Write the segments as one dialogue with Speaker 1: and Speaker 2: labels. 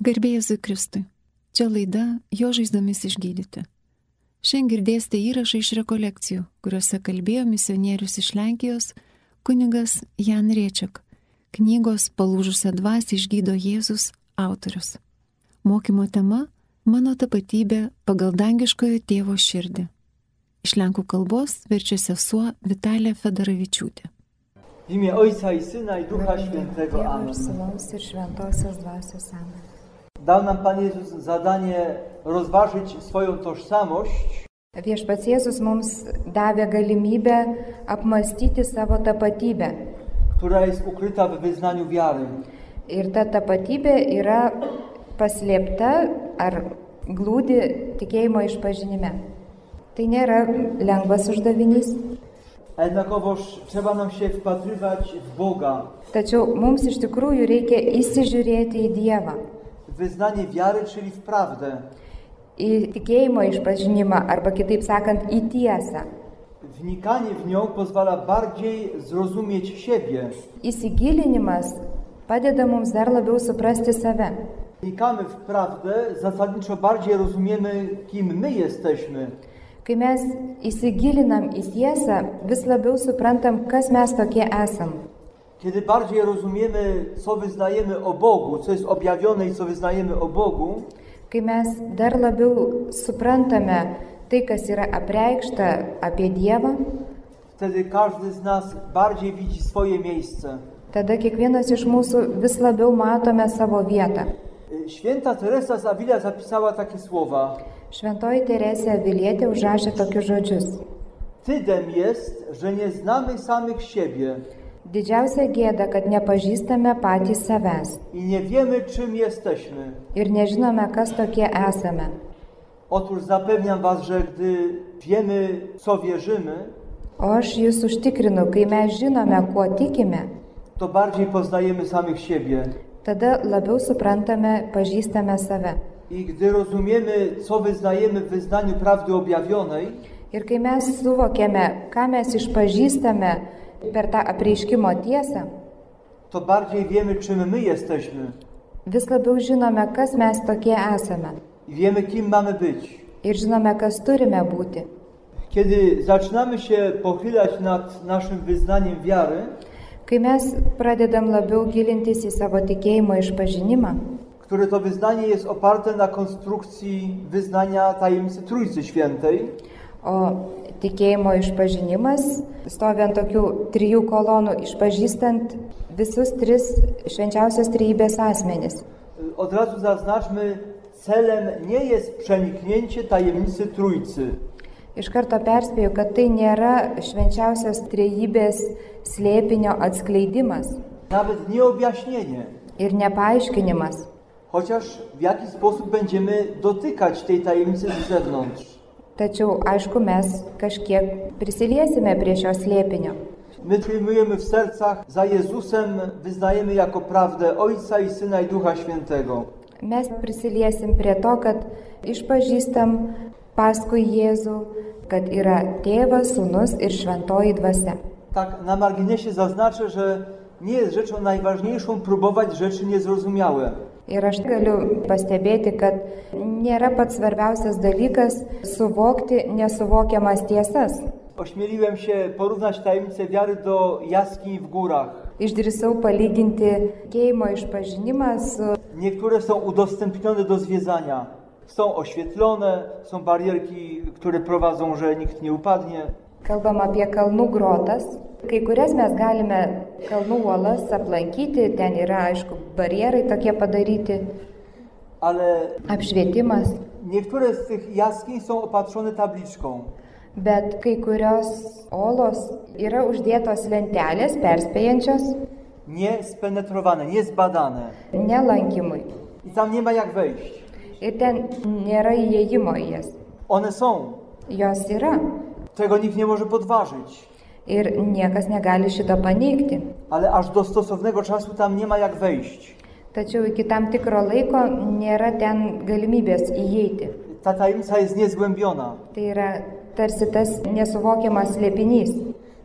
Speaker 1: Garbėjus Kristui. Čia laida Jo žaizdomis išgydyti. Šiandien girdėsite įrašą iš rekolekcijų, kuriuose kalbėjo misionierius iš Lenkijos kunigas Jan Riečiak, knygos Palūžusią dvasį išgydo Jėzus autorius. Mokymo tema - Mano tapatybė pagal dangiškojo tėvo širdį. Iš lenkų kalbos verčia sesuo Vitalija Fedaravičiūtė.
Speaker 2: W imię Ojca i Syna i Ducha Świętego.
Speaker 3: Dievo ir
Speaker 2: Amen.
Speaker 3: Sūnaus ir Šventosios Dvasios Amen.
Speaker 2: Dał nam Pan Jezus zadanie rozważyć swoją tożsamość
Speaker 3: Viešpats Jėzus mums davė galimybę apmastyti savo tapatybę.
Speaker 2: która jest ukryta w wyznaniu wiary.
Speaker 3: Ir ta tapatybė yra paslėpta ar glūdi tikėjimo išpažinime. Tai nėra lengvas uždavinys,
Speaker 2: A jednakowoż trzeba nam się wpatrywać w Boga.
Speaker 3: tačiau mums iš tikrųjų reikia įsižiūrėti į Dievą,
Speaker 2: W Wyznanie wiary, czyli w prawdę.
Speaker 3: į tikėjimo išpažinimą arba kitaip sakant į tiesą.
Speaker 2: Wnikanie w nią pozwala bardziej zrozumieć siebie.
Speaker 3: Įsigilinimas padeda mums dar labiau suprasti save.
Speaker 2: Wnikamy w prawdę, zasadniczo bardziej rozumiemy, kim my jesteśmy.
Speaker 3: Kai mes įsigilinam į tiesą, vis labiau suprantam, kas mes tokie esam.
Speaker 2: Kiedy bardziej rozumiemy, co wyznajemy o Bogu, co jest objawione i co wyznajemy o Bogu,
Speaker 3: Kai mes dar labiau suprantame tai, kas yra apreikšta apie Dievą,
Speaker 2: Wtedy każdy z nas bardziej widzi swoje miejsce.
Speaker 3: tada kiekvienas iš mūsų vis labiau matome savo vietą.
Speaker 2: Y, Święta Teresa z Avila zapisała takie słowa:
Speaker 3: Šventoji Teresė Vilietė užrašė tokius žodžius.
Speaker 2: Tydem jest, że nie znamy samych siebie
Speaker 3: Didžiausia gėda, kad nepažįstame patys savęs
Speaker 2: i nie wiemy, czym jesteśmy.
Speaker 3: ir nežinome, kas tokie esame.
Speaker 2: Otóż zapewniam Was, że gdy wiemy, w co wierzymy,
Speaker 3: O aš jūs užtikrinu, kai mes žinome, kuo tikime,
Speaker 2: to bardziej poznajemy samych siebie.
Speaker 3: tada labiau suprantame, pažįstame save.
Speaker 2: I gdy rozumiemy, co wyznajemy w wyznaniu prawdy objawionej,
Speaker 3: Ir kai mes suvokėme, ką mes išpažįstame per tą apreiškimo tiesą,
Speaker 2: to bardziej wiemy, czym my jesteśmy
Speaker 3: vis labiau žinome, kas mes tokie esame
Speaker 2: i wiemy, kim mamy być.
Speaker 3: ir žinome, kas turime būti.
Speaker 2: Kiedy zaczynamy się pochylać nad naszym wyznaniem wiary,
Speaker 3: Kai mes pradedam labiau gilintis į savo tikėjimo išpažinimą,
Speaker 2: które to wyznanie jest oparte na konstrukcji wyznania tajemnicy Trójcy Świętej,
Speaker 3: o tikėjimo išpažinimas stovi ant tokių trijų kolonų, išpažįstant visus tris švenčiausios trejybės asmenis.
Speaker 2: y, od razu zaznaczmy, celem nie jest przeniknięcie tajemnicy Trójcy.
Speaker 3: Iš karto perspėju, kad tai nėra švenčiausios trejybės slėpinio atskleidimas
Speaker 2: Nawet nie objaśnienie,
Speaker 3: ir nepaaiškinimas,
Speaker 2: chociaż w jaki sposób będziemy dotykać tej tajemnicy z zewnątrz.
Speaker 3: tačiau aišku mes kažkiek prisiliesime prie šio slėpinio.
Speaker 2: My przyjmujemy w sercach za Jezusem, wyznajemy jako prawdę Ojca i Syna i Ducha Świętego.
Speaker 3: Mes prisiliesim prie to, kad išpažįstam paskui Jėzų, kad yra tėvas, sunus ir šventoji dvasia.
Speaker 2: Tak na marginesie zaznaczę, że nie jest rzeczą najważniejszą próbować rzeczy niezrozumiałe.
Speaker 3: Ir aš galiu pastebėti, kad nėra pats svarbiausias dalykas suvokti nesuvokiamas tiesas.
Speaker 2: Ośmieliłem się porównać tajemnicę wiary do jaskiń w górach.
Speaker 3: Išdrįsau palyginti keimo išpažinimą su
Speaker 2: Niektóre są udostępnione do zwiedzania. Są oświetlone, są barierki, które prowadzą, że nikt nie upadnie.
Speaker 3: kalbam apie kalnų grotas. Kai kurias mes galime kalnų uolas aplankyti, ten yra, aišku, barjerai tokie padaryti,
Speaker 2: Ale
Speaker 3: apšvietimas,
Speaker 2: niektóre z tych jaskiń są opatrzone tabliczką.
Speaker 3: bet kai kurios olos yra uždėtos lentelės perspėjančios
Speaker 2: Niespenetrowane, niezbadane.
Speaker 3: nelankimui.
Speaker 2: I tam nie ma jak wejść.
Speaker 3: Ir ten nėra įėjimo į jas.
Speaker 2: One są.
Speaker 3: Jos yra.
Speaker 2: Tego nikt nie może podważyć.
Speaker 3: Ir niekas negali šito paneigti.
Speaker 2: Ale aż do stosownego czasu tam nie ma jak wejść.
Speaker 3: Tačiau iki tam tikro laiko nėra ten galimybės įeiti.
Speaker 2: Ta tajemnica jest niezgłębiona.
Speaker 3: Tai yra tarsi tas nesuvokiamas slėpinys.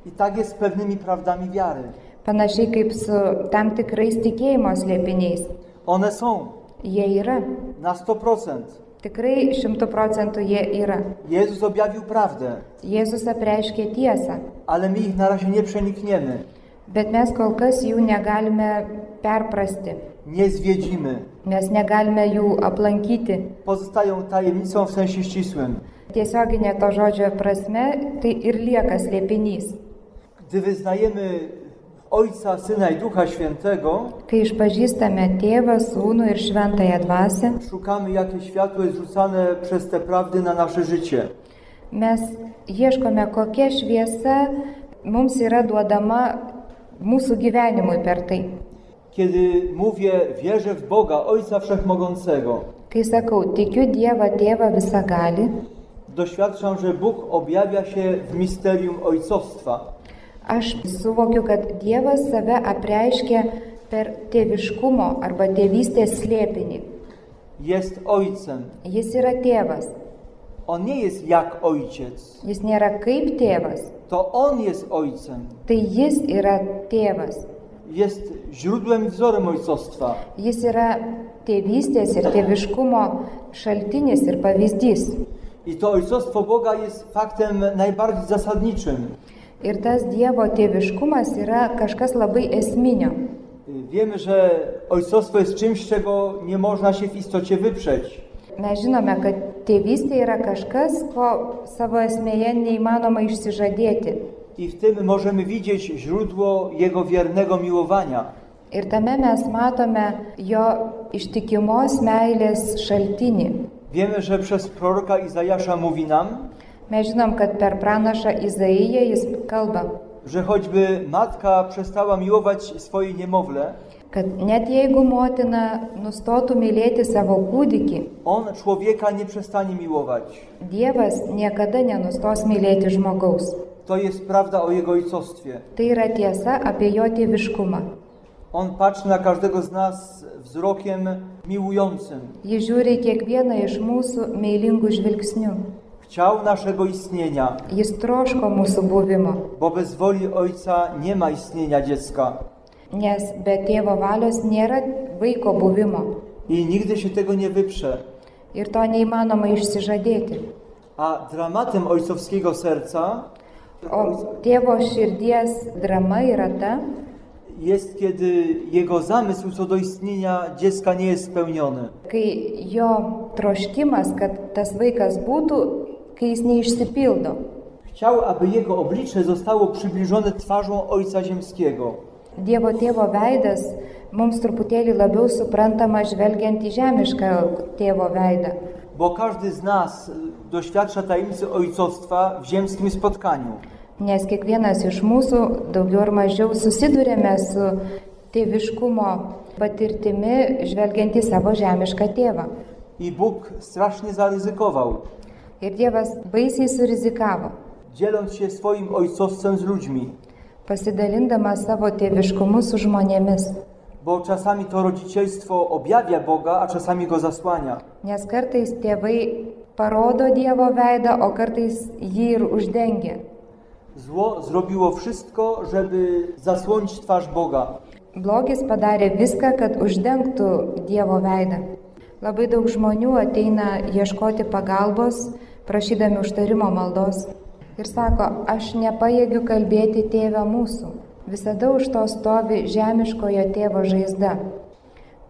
Speaker 2: I tak jest z pewnymi prawdami wiary.
Speaker 3: Panašiai kaip su tam tikrais tikėjimo slėpiniais.
Speaker 2: One są.
Speaker 3: Jie yra.
Speaker 2: Na 100%.
Speaker 3: Tikrai šimtų procentų jie yra.
Speaker 2: Jezus objawił prawdę,
Speaker 3: Jėzus apreiškė tiesą,
Speaker 2: ale my ich na razie nie przenikniemy,
Speaker 3: bet mes kol kas jų negalime perprasti.
Speaker 2: nie zwiedzimy.
Speaker 3: Mes negalime jų aplankyti.
Speaker 2: Pozostają tajemnicą w sensie ścisłym.
Speaker 3: Tiesioginė to žodžio prasme tai ir lieka slėpinys.
Speaker 2: Gdy wyznajemy Ojca, Syna i Ducha Świętego,
Speaker 3: Kai išpažįstame tėvą, sūnų ir šventąją dvasę,
Speaker 2: szukamy, jakie światło jest rzucane przez te prawdy na nasze życie.
Speaker 3: mes ieškome, kokia šviesa mums yra duodama mūsų gyvenimui per tai.
Speaker 2: Kiedy mówię, wierzę w Boga, Ojca Wszechmogącego,
Speaker 3: Kai sakau, tikiu Dievą tėvą visagali,
Speaker 2: doświadczam, że Bóg objawia się w misterium ojcostwa.
Speaker 3: aš suvokiu, kad Dievas save apreiškia per tėviškumo arba tėvystės slėpinį.
Speaker 2: Jest Ojcem.
Speaker 3: Jis yra tėvas,
Speaker 2: On nie jest jak Ojciec.
Speaker 3: jis nėra kaip tėvas,
Speaker 2: To On jest Ojcem.
Speaker 3: tai jis yra tėvas.
Speaker 2: Jest źródłem i wzorem ojcostwa.
Speaker 3: Jis yra tėvystės ir tėviškumo šaltinis ir pavyzdys.
Speaker 2: I to ojcostwo Boga jest faktem najbardziej zasadniczym.
Speaker 3: Ir tas Dievo tėviškumas yra kažkas labai esminio.
Speaker 2: Wiemy, że ojcostwo jest czymś, czego nie można się w istocie wyprzeć.
Speaker 3: Mes žinome, kad tėvystė yra kažkas, ko savo esmėje neįmanoma išsižadėti.
Speaker 2: I w tym możemy widzieć źródło Jego wiernego miłowania.
Speaker 3: Ir tame mes matome jo ištikimos meilės šaltinį.
Speaker 2: Wiemy, że przez proroka Izajasza mówi nam,
Speaker 3: Mes žinom, kad per pranašą Izaiją jis kalba,
Speaker 2: że choćby matka przestała miłować swoje niemowlę,
Speaker 3: kad net jeigu motina nustotų mylėti savo kūdikį,
Speaker 2: on człowieka nie przestanie miłować.
Speaker 3: Dievas niekada nenustos mylėti žmogaus.
Speaker 2: To jest prawda o Jego ojcostwie.
Speaker 3: Tai yra tiesa apie jo tėviškumą.
Speaker 2: On patrzy na każdego z nas wzrokiem miłującym.
Speaker 3: Jis žiūri į kiekvieną iš mūsų meilingų žvilgsnių.
Speaker 2: Chciał naszego istnienia,
Speaker 3: Jis troško mūsų buvimo,
Speaker 2: bo bez woli Ojca nie ma istnienia dziecka.
Speaker 3: nes be tėvo valios nėra vaiko buvimo
Speaker 2: I nigdy się tego nie wyprze.
Speaker 3: ir to neįmanoma išsižadėti.
Speaker 2: A dramatem ojcowskiego serca
Speaker 3: O tėvo širdies drama yra ta,
Speaker 2: jest, kiedy jego zamysł co do istnienia dziecka nie jest spełniony.
Speaker 3: kai jo troškimas, kad tas vaikas būtų, kai jis neišsipildo.
Speaker 2: Chciał, aby jego oblicze zostało przybliżone twarzą Ojca Ziemskiego.
Speaker 3: Dievo tėvo veidas mums truputėlį labiau suprantama žvelgiant į žemišką tėvo veidą.
Speaker 2: Bo każdy z nas y, doświadcza tajemnicy ojcostwa w ziemskim spotkaniu.
Speaker 3: Nes kiekvienas iš mūsų daugiau ir mažiau susidurėme su tėviškumo patirtimi žvelgiant į savo žemišką tėvą.
Speaker 2: I Bóg strasznie zaryzykował,
Speaker 3: Ir Dievas baisiai surizikavo,
Speaker 2: dzieląc się swoim ojcostwem z ludźmi.
Speaker 3: pasidalindamas savo tėviškumu su žmonėmis.
Speaker 2: Bo czasami to rodzicielstwo objawia Boga, a czasami go zasłania.
Speaker 3: Nes kartais tėvai parodo Dievo veidą, o kartais jį ir uždengia.
Speaker 2: Zło zrobiło wszystko, żeby zasłonić twarz Boga.
Speaker 3: Blogis padarė viską, kad uždengtų Dievo veidą. Labai daug žmonių ateina ieškoti pagalbos, prašydami užtarimo maldos. Ir sako, aš nepajėgiu kalbėti tėvę mūsų. Visada už to stovi žemiškojo tėvo žaizda.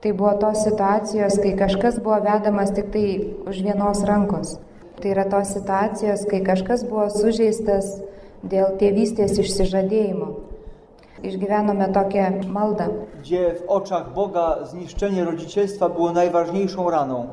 Speaker 3: Tai buvo tos situacijos, kai kažkas buvo vedamas tik tai už vienos rankos. Tai yra tos situacijos, kai kažkas buvo sužeistas dėl tėvystės išsižadėjimo. Išgyvenome tokią maldą,
Speaker 2: Gdzie w oczach Boga zniszczenie rodzicielstwa było najważniejszą raną.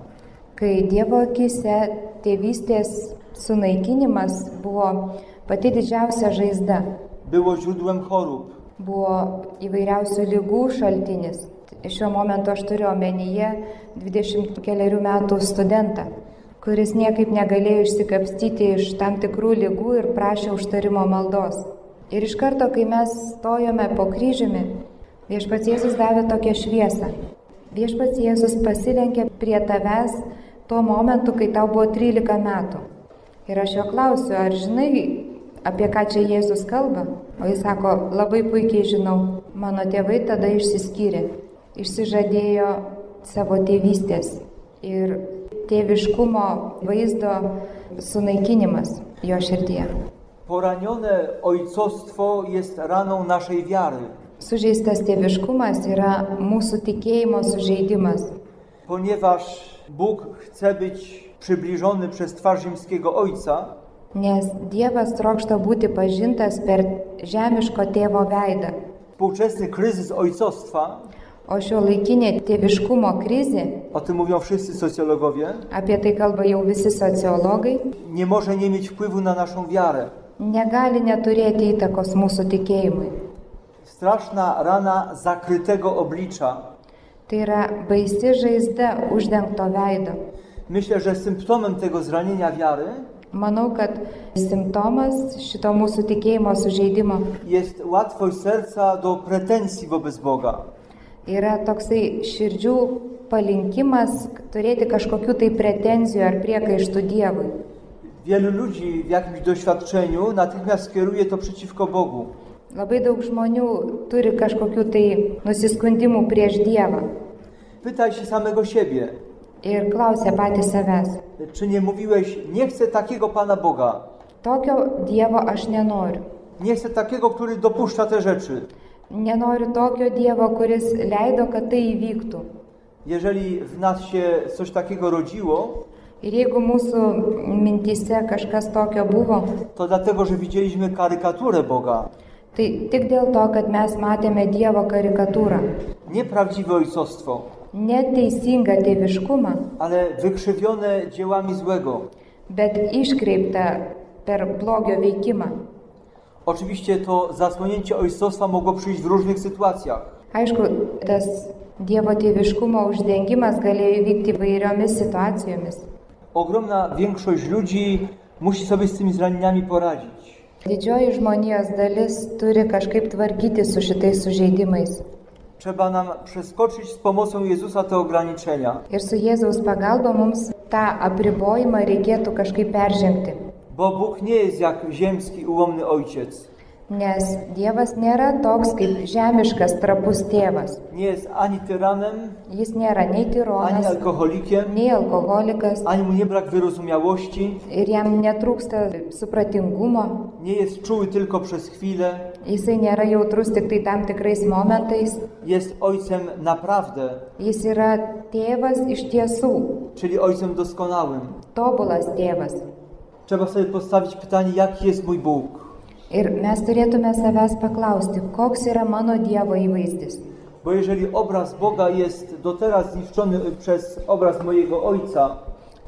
Speaker 3: kai Dievo akise tėvystės sunaikinimas buvo pati didžiausia žaizda,
Speaker 2: Było źródłem chorób,
Speaker 3: buvo įvairiausių lygų šaltinis. Šiuo momentu aš turiu omenyje 20 keliarių metų studentą, kuris niekaip negalėjo išsikapstyti iš tam tikrų lygų ir prašė užtarimo maldos. Ir iš karto, kai mes stojome po kryžiumi, viešpats Jėzus davė tokią šviesą. Viešpats Jėzus pasilenkė prie tavęs tuo momentu, kai tau buvo 13 metų. Ir aš jo klausiu, ar žinai, apie ką čia Jėzus kalba? O jis sako, labai puikiai žinau, mano tėvai tada išsiskyrė, išsižadėjo savo tėvystės ir tėviškumo vaizdo sunaikinimas jo širdyje.
Speaker 2: Poranione ojcostwo jest raną naszej wiary,
Speaker 3: Sužeistas tėviškumas yra mūsų tikėjimo sužeidimas,
Speaker 2: ponieważ Bóg chce być przybliżony przez twarz rzymskiego ojca,
Speaker 3: nes Dievas trokšta būti pažintas per žemiško tėvo veidą,
Speaker 2: Współczesny kryzys ojcostwa,
Speaker 3: o šio laikinė tėviškumo krizė,
Speaker 2: o tym mówią wszyscy socjologowie,
Speaker 3: apie tai kalba jau visi sociologai,
Speaker 2: nie może nie mieć wpływu na naszą wiarę.
Speaker 3: negali neturėti įtakos mūsų tikėjimui.
Speaker 2: Straszna rana zakrytego oblicza.
Speaker 3: Tai yra baisi žaizda uždengto veido.
Speaker 2: Myślę, że symptomem tego zranienia wiary
Speaker 3: Manau, kad simptomas šito mūsų tikėjimo sužeidimo
Speaker 2: jest łatwość serca do pretensji wobec Boga.
Speaker 3: yra toksai širdžių palinkimas turėti kažkokių tai pretenzijų ar priekaištų Dievui.
Speaker 2: Wielu ludzi w jakimś doświadczeniu natychmiast kieruje to przeciwko Bogu.
Speaker 3: Labai daug žmonių turi kažkokių tai nusiskundimų prieš Dievą
Speaker 2: Pytaj się samego siebie,
Speaker 3: ir klausia patys savęs,
Speaker 2: czy nie mówiłeś, nie chcę takiego Pana Boga,
Speaker 3: tokio Dievo aš nenoriu.
Speaker 2: nie chcę takiego, który dopuszcza te rzeczy.
Speaker 3: Nenoriu tokio Dievo, kuris leido, kad tai įvyktų.
Speaker 2: Jeżeli w nas się coś takiego rodziło,
Speaker 3: Ir jeigu mūsų mintyse kažkas tokio buvo,
Speaker 2: to dlatego, że widzieliśmy karykaturę Boga.
Speaker 3: tai tik dėl to, kad mes matėme Dievo karikatūrą.
Speaker 2: Nieprawdziwe ojcostwo,
Speaker 3: Neteisingą tėviškumą,
Speaker 2: ale wykrzywione dziełami złego.
Speaker 3: bet iškreiptą per blogio veikimą.
Speaker 2: Oczywiście to zasłonięcie ojcostwa mogło przyjść w różnych sytuacjach.
Speaker 3: Aišku, tas Dievo tėviškumo uždengimas galėjo įvykti įvairiomis situacijomis.
Speaker 2: Ogromna większość ludzi musi sobie z tymi zranieniami poradzić.
Speaker 3: Didžioji žmonijos dalis turi kažkaip tvarkyti su šitais sužeidimais.
Speaker 2: Trzeba nam przeskoczyć z pomocą Jezusa te ograniczenia,
Speaker 3: Ir su Jėzaus pagalba mums tą apribojimą reikėtų kažkaip peržengti.
Speaker 2: bo Bóg nie jest jak ziemski, ułomny ojciec.
Speaker 3: Nes Dievas nėra toks kaip žemiškas, trapus tėvas.
Speaker 2: Nie jest ani tyranem,
Speaker 3: Jis nėra nei
Speaker 2: ani
Speaker 3: tironas,
Speaker 2: alkoholikiem,
Speaker 3: nei alkoholikas
Speaker 2: ani mu nie brak wyrozumiałości,
Speaker 3: ir jam netrūksta supratingumo.
Speaker 2: nie jest czuły tylko przez chwilę,
Speaker 3: Jisai nėra jautrus tik tai tam tikrais momentais.
Speaker 2: jest ojcem naprawdę,
Speaker 3: Jis yra tėvas iš tiesų,
Speaker 2: czyli ojcem doskonałym.
Speaker 3: tobulas tėvas.
Speaker 2: Trzeba sobie postawić pytanie, jaki jest mój Bóg.
Speaker 3: Ir mes turėtume savęs paklausti, koks yra mano Dievo įvaizdis.
Speaker 2: Bo jeżeli obraz Boga jest do teraz zniszczony przez obraz mojego Ojca,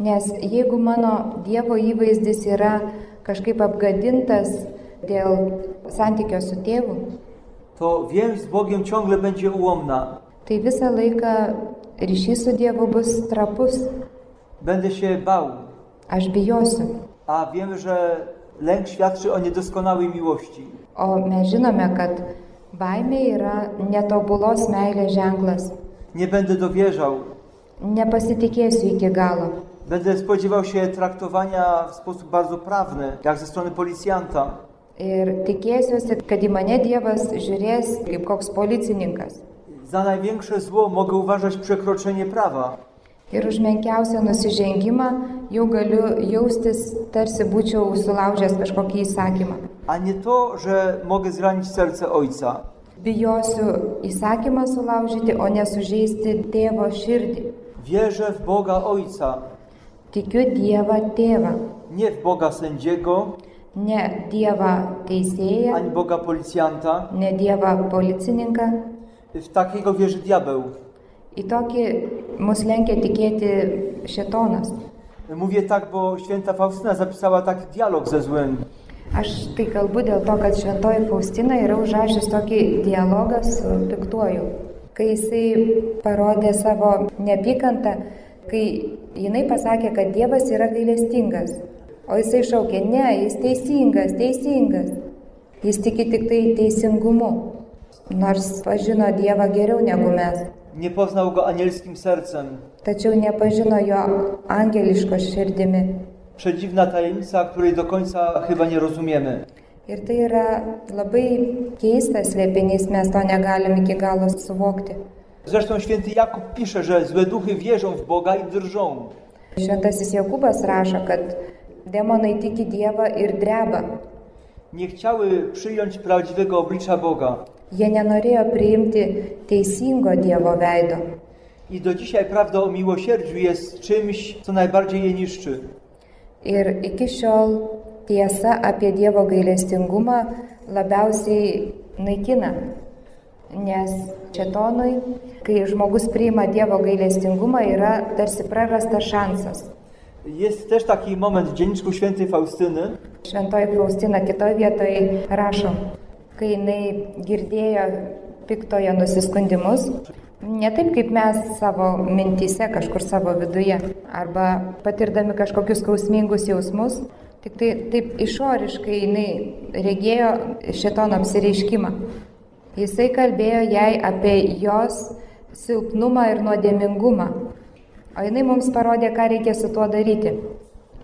Speaker 3: Nes jeigu mano Dievo įvaizdis yra kažkaip apgadintas dėl santykio su tėvu,
Speaker 2: to więź z Bogiem ciągle będzie ułomna.
Speaker 3: tai visą laiką ryšys su Dievu bus trapus.
Speaker 2: Będę się bał,
Speaker 3: Aš bijosiu.
Speaker 2: a wiem, że lęk świadczy o niedoskonałej miłości.
Speaker 3: O mes žinome, kad baimė yra netobulos meilės ženklas.
Speaker 2: Nie będę dowierzał,
Speaker 3: Nepasitikėsiu iki galo.
Speaker 2: będę spodziewał się traktowania w sposób bardzo prawny, jak ze strony policjanta.
Speaker 3: Ir tikėsiuosi, kad į mane Dievas žiūrės kaip koks policininkas.
Speaker 2: Za największe zło mogę uważać przekroczenie prawa.
Speaker 3: Ir už menkiausią nusižengimą jau galiu jaustis, tarsi būčiau sulaužęs kažkokį įsakymą.
Speaker 2: a nie to, że mogę zranić serce ojca.
Speaker 3: Bijosiu įsakymą sulaužyti, o nesužeisti tėvo širdį.
Speaker 2: Wierzę w Boga Ojca,
Speaker 3: Tikiu Dievą tėvą,
Speaker 2: nie w Boga sędziego,
Speaker 3: ne Dievą teisėją,
Speaker 2: ani Boga policjanta.
Speaker 3: ne Dievą policininką.
Speaker 2: W takiego wierzy diabeł.
Speaker 3: Į tokį mus lenkia tikėti šetonas.
Speaker 2: Mówię tak, bo święta Faustyna zapisała taki dialog ze złym.
Speaker 3: Aš tai kalbu dėl to, kad šventoji Faustina yra užrašęs tokį dialogą su piktuoju. Kai jisai parodė savo neapykantą, kai jinai pasakė, kad Dievas yra gailestingas, o jisai šaukė, ne, jis teisingas, teisingas. Jis tiki tik tai teisingumu, nors pažino Dievą geriau negu mes,
Speaker 2: Nie poznał go anielskim sercem.
Speaker 3: tačiau nepažino jo angeliško širdimi.
Speaker 2: Przedziwna tajemnica, której do końca chyba nie rozumiemy.
Speaker 3: Ir tai yra labai keistas slėpinys, mes to negalim iki galo suvokti.
Speaker 2: Zresztą święty Jakub pisze, że złe duchy wierzą w Boga i drżą.
Speaker 3: Šventasis Jokūbas rašo, kad demonai tiki Dievą ir dreba.
Speaker 2: Nie chciały przyjąć prawdziwego oblicza Boga.
Speaker 3: Jie nenorėjo priimti teisingo Dievo veido.
Speaker 2: I do dzisiaj prawda o miłosierdziu jest czymś, co najbardziej je niszczy.
Speaker 3: Ir iki šiol tiesa apie Dievo gailestingumą labiausiai naikina. Nes četonui, kai žmogus priima Dievo gailestingumą, yra tarsi prarastas šansas.
Speaker 2: Jest też taki moment w dzienniczku świętej Faustyny,
Speaker 3: Šventoji Faustina kitoje vietoje rašo, kai jinai girdėjo piktojo nusiskundimus, ne taip kaip mes savo mintyse, kažkur savo viduje, arba patirdami kažkokius skausmingus jausmus, tik tai taip išoriškai jinai regėjo šetono apsireiškimą. Jisai kalbėjo jai apie jos silpnumą ir nuodėmingumą, o jinai mums parodė, ką reikia su tuo daryti.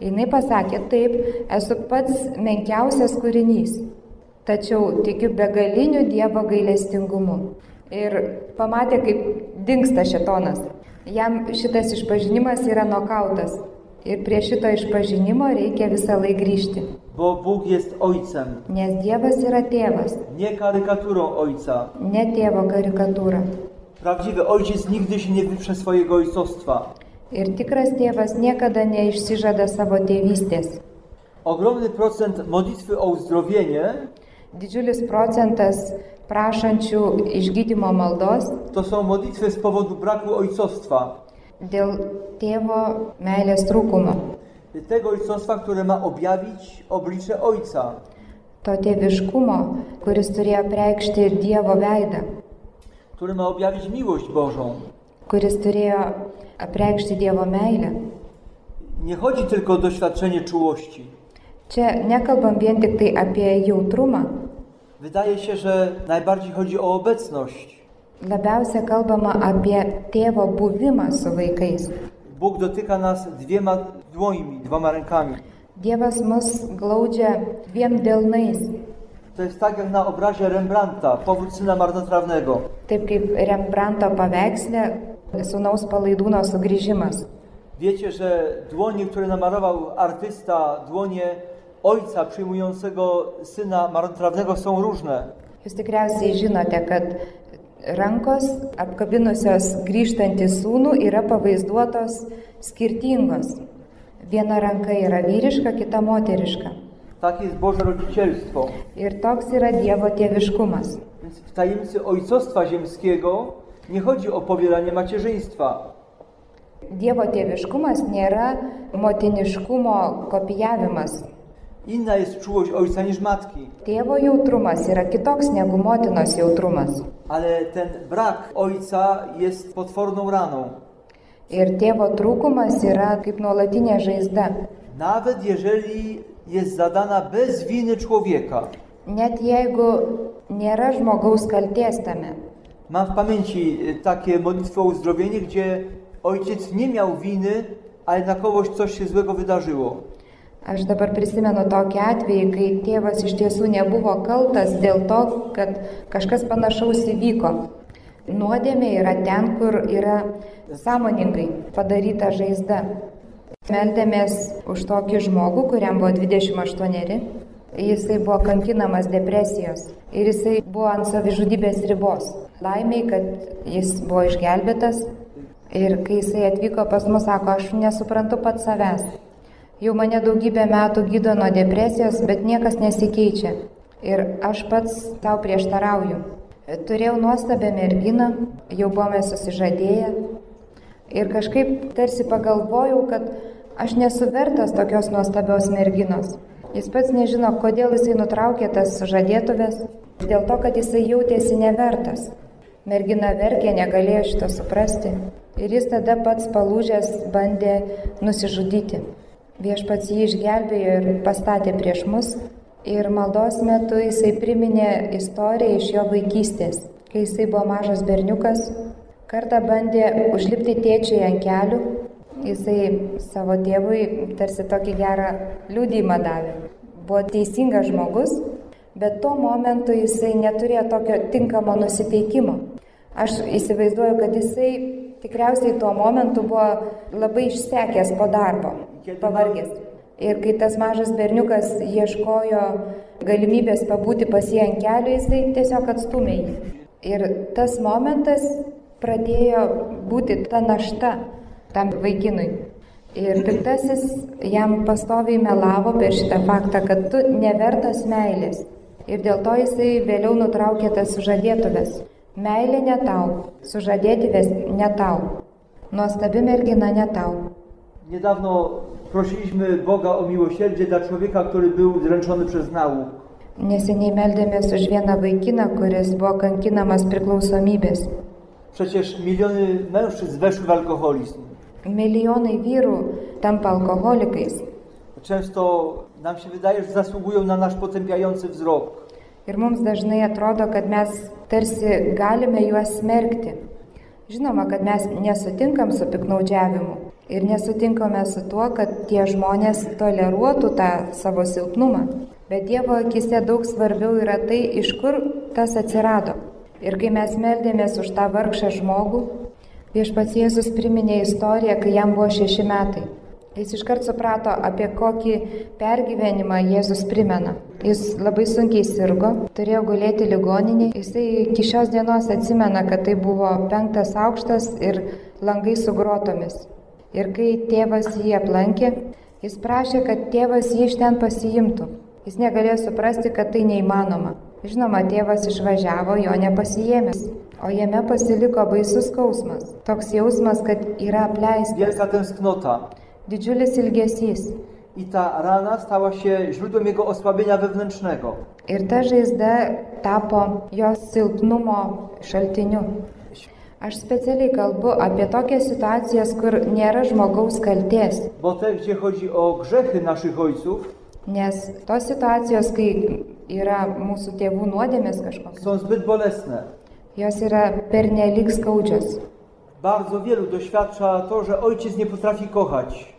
Speaker 3: Jinai pasakė, taip, esu pats menkiausias kūrinys, tačiau tikiu begaliniu Dievo gailestingumu. Ir pamatė, kaip dinksta šetonas. Jam šitas išpažinimas yra nokautas. Ir prie šito išpažinimo reikia visą laiką grįžti.
Speaker 2: bo Bóg jest Ojcem,
Speaker 3: Nes Dievas yra tėvas,
Speaker 2: nie karykaturą Ojca.
Speaker 3: ne tėvo karikatūra.
Speaker 2: Prawdziwy ojciec nigdy się nie wyprze swojego ojcostwa.
Speaker 3: Ir tikras tėvas niekada neišsižada savo tėvystės.
Speaker 2: Ogromny procent modlitwy o uzdrowienie
Speaker 3: Didžiulis procentas prašančių išgydymo maldos
Speaker 2: to są modlitwy z powodu braku ojcostwa.
Speaker 3: dėl tėvo meilės trūkumo,
Speaker 2: Tego ojcostwa, które ma objawić oblicze Ojca.
Speaker 3: to tėviškumo, kuris turėjo reikšti ir Dievo veidą,
Speaker 2: który ma objawić miłość Bożą.
Speaker 3: kuris turėjo apreikšti Dievo meilę.
Speaker 2: Nie chodzi tylko o doświadczenie czułości.
Speaker 3: Čia nekalbam vien tik tai apie jautrumą,
Speaker 2: Wydaje się, że najbardziej chodzi o obecność.
Speaker 3: labiausia kalbama apie tėvo buvimą su vaikais.
Speaker 2: Bóg dotyka nas dwiema dłońmi, dwoma rękami.
Speaker 3: Dievas mus glaudžia dviem delnais,
Speaker 2: To jest tak jak na obrazie Rembrandta, powód syna marnotrawnego.
Speaker 3: taip kaip Rembrandto paveiksle sunaus palaidūno sugrįžimas.
Speaker 2: Wiecie, że dłonie, które namarował artysta, dłonie ojca przyjmującego syna marnotrawnego są różne.
Speaker 3: Jūs tikriausiai žinote, kad rankos apkabinusios grįžtantį sūnų yra pavaizduotos skirtingos. Viena ranka yra vyriška, kita moteriška.
Speaker 2: Tak jest Boże rodzicielstwo.
Speaker 3: Ir toks yra Dievo tėviškumas.
Speaker 2: Więc w tajemnicy ojcostwa ziemskiego nie chodzi o powielanie macierzyństwa.
Speaker 3: Dievo tėviškumas nėra motiniškumo kopijavimas.
Speaker 2: Inna jest czułość ojca niż matki,
Speaker 3: Tėvo jautrumas yra kitoks negu motinos jautrumas.
Speaker 2: ale ten brak ojca jest potworną raną.
Speaker 3: Ir tėvo trūkumas yra kaip nuolatinė žaizda.
Speaker 2: Nawet jeżeli jest zadana bez winy człowieka.
Speaker 3: Net jeigu nėra žmogaus kalties tame,
Speaker 2: Mam w pamięci y, takie modlitwy o uzdrowienie, gdzie ojciec nie miał winy, a jednakowoż coś się złego wydarzyło.
Speaker 3: Aš dabar prisimenu tokį atvejį, kai tėvas iš tiesų nebuvo kaltas dėl to, kad kažkas panašaus įvyko. Nuodėmė yra ten, kur yra sąmoningai padaryta žaizda. Meldėmės už tokį žmogų, kuriam buvo 28, jisai buvo kankinamas depresijos ir jisai buvo ant savižudybės ribos. Laimiai, kad jis buvo išgelbėtas ir kai jisai atvyko pas mus, sako, aš nesuprantu pat savęs. Jau mane daugybę metų gydo nuo depresijos, bet niekas nesikeičia. Ir aš pats tau prieštarauju. Turėjau nuostabią merginą, jau buvome susižadėję. Ir kažkaip tarsi pagalvojau, kad aš nesu vertas tokios nuostabios merginos. Jis pats nežino, kodėl jisai nutraukė tas sužadėtuvės. Dėl to, kad jisai jautėsi nevertas. Mergina verkė, negalėjo šito suprasti. Ir jis tada pats palūžęs bandė nusižudyti. Viešpats jį išgelbėjo ir pastatė prieš mus. Ir maldos metu jisai priminė istoriją iš jo vaikystės, kai jisai buvo mažas berniukas. Kartą bandė užlipti tėčiui ant kelių. Jisai savo tėvui tarsi tokį gerą liūdėjimą davė. Buvo teisingas žmogus, bet tuo momentu jisai neturėjo tokio tinkamo nusiteikimo. Aš įsivaizduoju, kad jisai tikriausiai tuo momentu buvo labai išsekęs po darbo, pavargęs. Ir kai tas mažas berniukas ieškojo galimybės pabūti pas jį ant kelių, jisai tiesiog atstumė jį. Ir tas momentas pradėjo būti ta našta tam vaikinui. Ir piktasis jam pastoviai melavo per šitą faktą, kad tu nevertas meilės. Ir dėl to jisai vėliau nutraukė tas sužadėtuvės. Meilė ne tau, sužadėtuvės ne tau, nuostabi mergina ne tau.
Speaker 2: Niedawno prosiliśmy Boga o miłosierdzie dla człowieka, który był dręczony przez nauk.
Speaker 3: Neseniai meldėmės už vieną vaikiną, kuris buvo kankinamas priklausomybės.
Speaker 2: Przecież miliony mężczyzn weszły w alkoholizm.
Speaker 3: Milijonai vyrų tampa alkoholikais.
Speaker 2: Często nam się wydaje, że zasługują na nasz potępiający wzrok.
Speaker 3: Ir mums dažnai atrodo, kad mes tarsi galime juos smerkti. Žinoma, kad mes nesutinkam su piknaudžiavimu ir nesutinkame su tuo, kad tie žmonės toleruotų tą savo silpnumą. Bet Dievo akise daug svarbiau yra tai, iš kur tas atsirado. Ir kai mes meldėmės už tą vargšą žmogų, viešpats Jėzus priminė istoriją, kai jam buvo šeši metai. Jis iškart suprato, apie kokį pergyvenimą Jėzus primena. Jis labai sunkiai sirgo, turėjo gulėti ligoninėje. Jisai iki šios dienos atsimena, kad tai buvo penktas aukštas ir langai su grotomis. Ir kai tėvas jį aplankė, jis prašė, kad tėvas jį iš ten pasiimtų. Jis negalėjo suprasti, kad tai neįmanoma. Žinoma, tėvas išvažiavo, jo nepasijėmęs, o jame pasiliko baisus skausmas. Toks jausmas, kad yra apleistas.
Speaker 2: Wielka tęsknota.
Speaker 3: Didžiulis ilgesys.
Speaker 2: I ta rana stała się źródłem jego osłabienia wewnętrznego.
Speaker 3: Ir ta žaizda tapo jos silpnumo šaltiniu. Aš specialiai kalbu apie tokias situacijas, kur nėra žmogaus kalties,
Speaker 2: Bo te, gdzie chodzi o grzechy naszych ojców,
Speaker 3: nes tos situacijos, kai yra mūsų tėvų nuodėmės kažkoks,
Speaker 2: są zbyt bolesne.
Speaker 3: jos yra pernelyg skaudžios.
Speaker 2: Bardzo wielu doświadcza to, że ojciec nie potrafi kochać,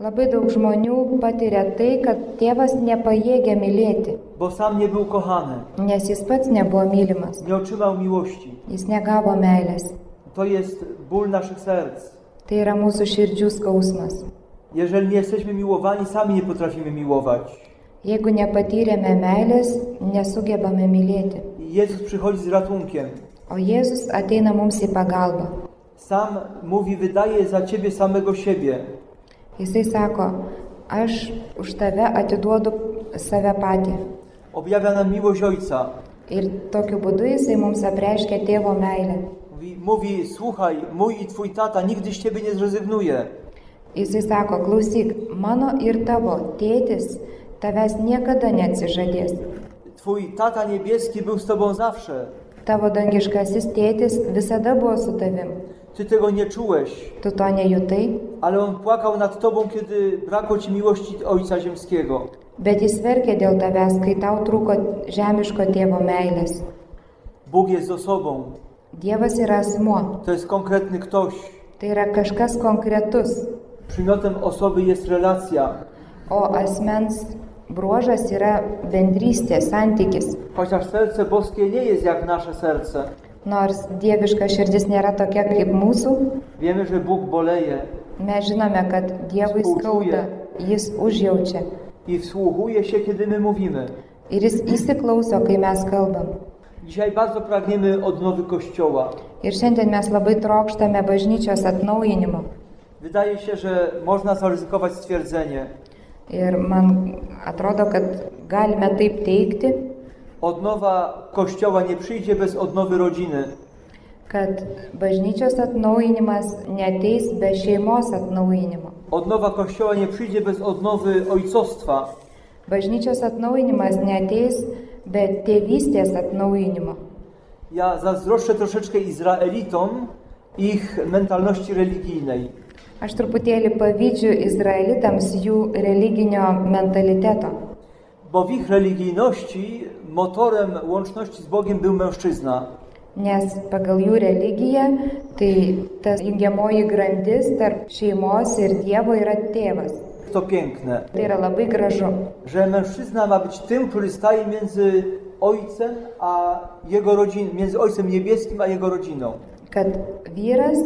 Speaker 3: Labai daug žmonių patiria tai, kad tėvas nepajėgia mylėti,
Speaker 2: bo sam nie był kochany,
Speaker 3: nes jis pats nebuvo mylimas,
Speaker 2: nie otrzymał miłości.
Speaker 3: jis negavo meilės.
Speaker 2: To jest ból naszych serc.
Speaker 3: Tai yra mūsų širdžių skausmas.
Speaker 2: Jeżeli nie jesteśmy miłowani, sami nie potrafimy miłować.
Speaker 3: Jeigu nepatyrėme meilės, nesugebame mylėti.
Speaker 2: I Jezus przychodzi z ratunkiem.
Speaker 3: O Jėzus ateina mums į pagalbą.
Speaker 2: Sam mówi, wydaję za ciebie samego siebie.
Speaker 3: Jisai sako, aš už tave atiduodu save patį.
Speaker 2: Objawia nam miłość Ojca.
Speaker 3: Ir tokiu būdu jisai mums apreiškia tėvo meilę.
Speaker 2: Mówi, mówi słuchaj, mój i twój tata nigdy z ciebie nie zrezygnuje.
Speaker 3: Jisai sako, klausyk, mano ir tavo tėtis tavęs niekada neatsižadės.
Speaker 2: Twój tata niebieski był z tobą zawsze.
Speaker 3: Tavo dangiškasis tėtis visada buvo su tavim.
Speaker 2: Ty tego nie czułeś,
Speaker 3: Tu to nejutai,
Speaker 2: ale on płakał nad tobą, kiedy brakło ci miłości Ojca Ziemskiego.
Speaker 3: bet jis verkė dėl tavęs, kai tau trūko žemiško tėvo meilės.
Speaker 2: Bóg jest osobą.
Speaker 3: Dievas yra asmuo,
Speaker 2: To jest konkretny ktoś.
Speaker 3: tai yra kažkas konkretus,
Speaker 2: Przymiotem osoby jest relacja.
Speaker 3: o asmens bruožas yra bendrystė, santykis.
Speaker 2: Chociaż serce boskie nie jest jak nasze serce.
Speaker 3: Nors dieviška širdis nėra tokia kaip mūsų,
Speaker 2: Wiemy, że Bóg boleje
Speaker 3: mes žinome, kad Dievui skauda, jis užjaučia
Speaker 2: i wsłuchuje się, kiedy my mówimy.
Speaker 3: ir jis įsiklauso, kai mes kalbam.
Speaker 2: Dzisiaj bardzo pragniemy odnowy Kościoła.
Speaker 3: Ir šiandien mes labai trokštame bažnyčios atnaujinimo.
Speaker 2: Wydaje się, że można zaryzykować stwierdzenie.
Speaker 3: Ir man atrodo, kad galime taip teikti,
Speaker 2: Odnowa Kościoła nie przyjdzie bez odnowy rodziny.
Speaker 3: kad bažnyčios atnaujinimas neteis be šeimos atnaujinimo.
Speaker 2: Odnowa Kościoła nie przyjdzie bez odnowy ojcostwa.
Speaker 3: Bažnyčios atnaujinimas neteis be tėvystės atnaujinimo.
Speaker 2: Ja zazdroszczę troszeczkę Izraelitom ich mentalności religijnej.
Speaker 3: Aš truputėlį pavydžiu izraelitams jų religinio mentaliteto,
Speaker 2: Bo w ich religijności motorem łączności z Bogiem był mężczyzna.
Speaker 3: nes pagal jų religiją tai tas jungiamoji grandis tarp šeimos ir Dievo yra tėvas.
Speaker 2: To piękne,
Speaker 3: Tai yra labai gražu,
Speaker 2: że mężczyzna ma być tym, który staje między ojcem a jego rodziną, między Ojcem Niebieskim a jego rodziną.
Speaker 3: kad vyras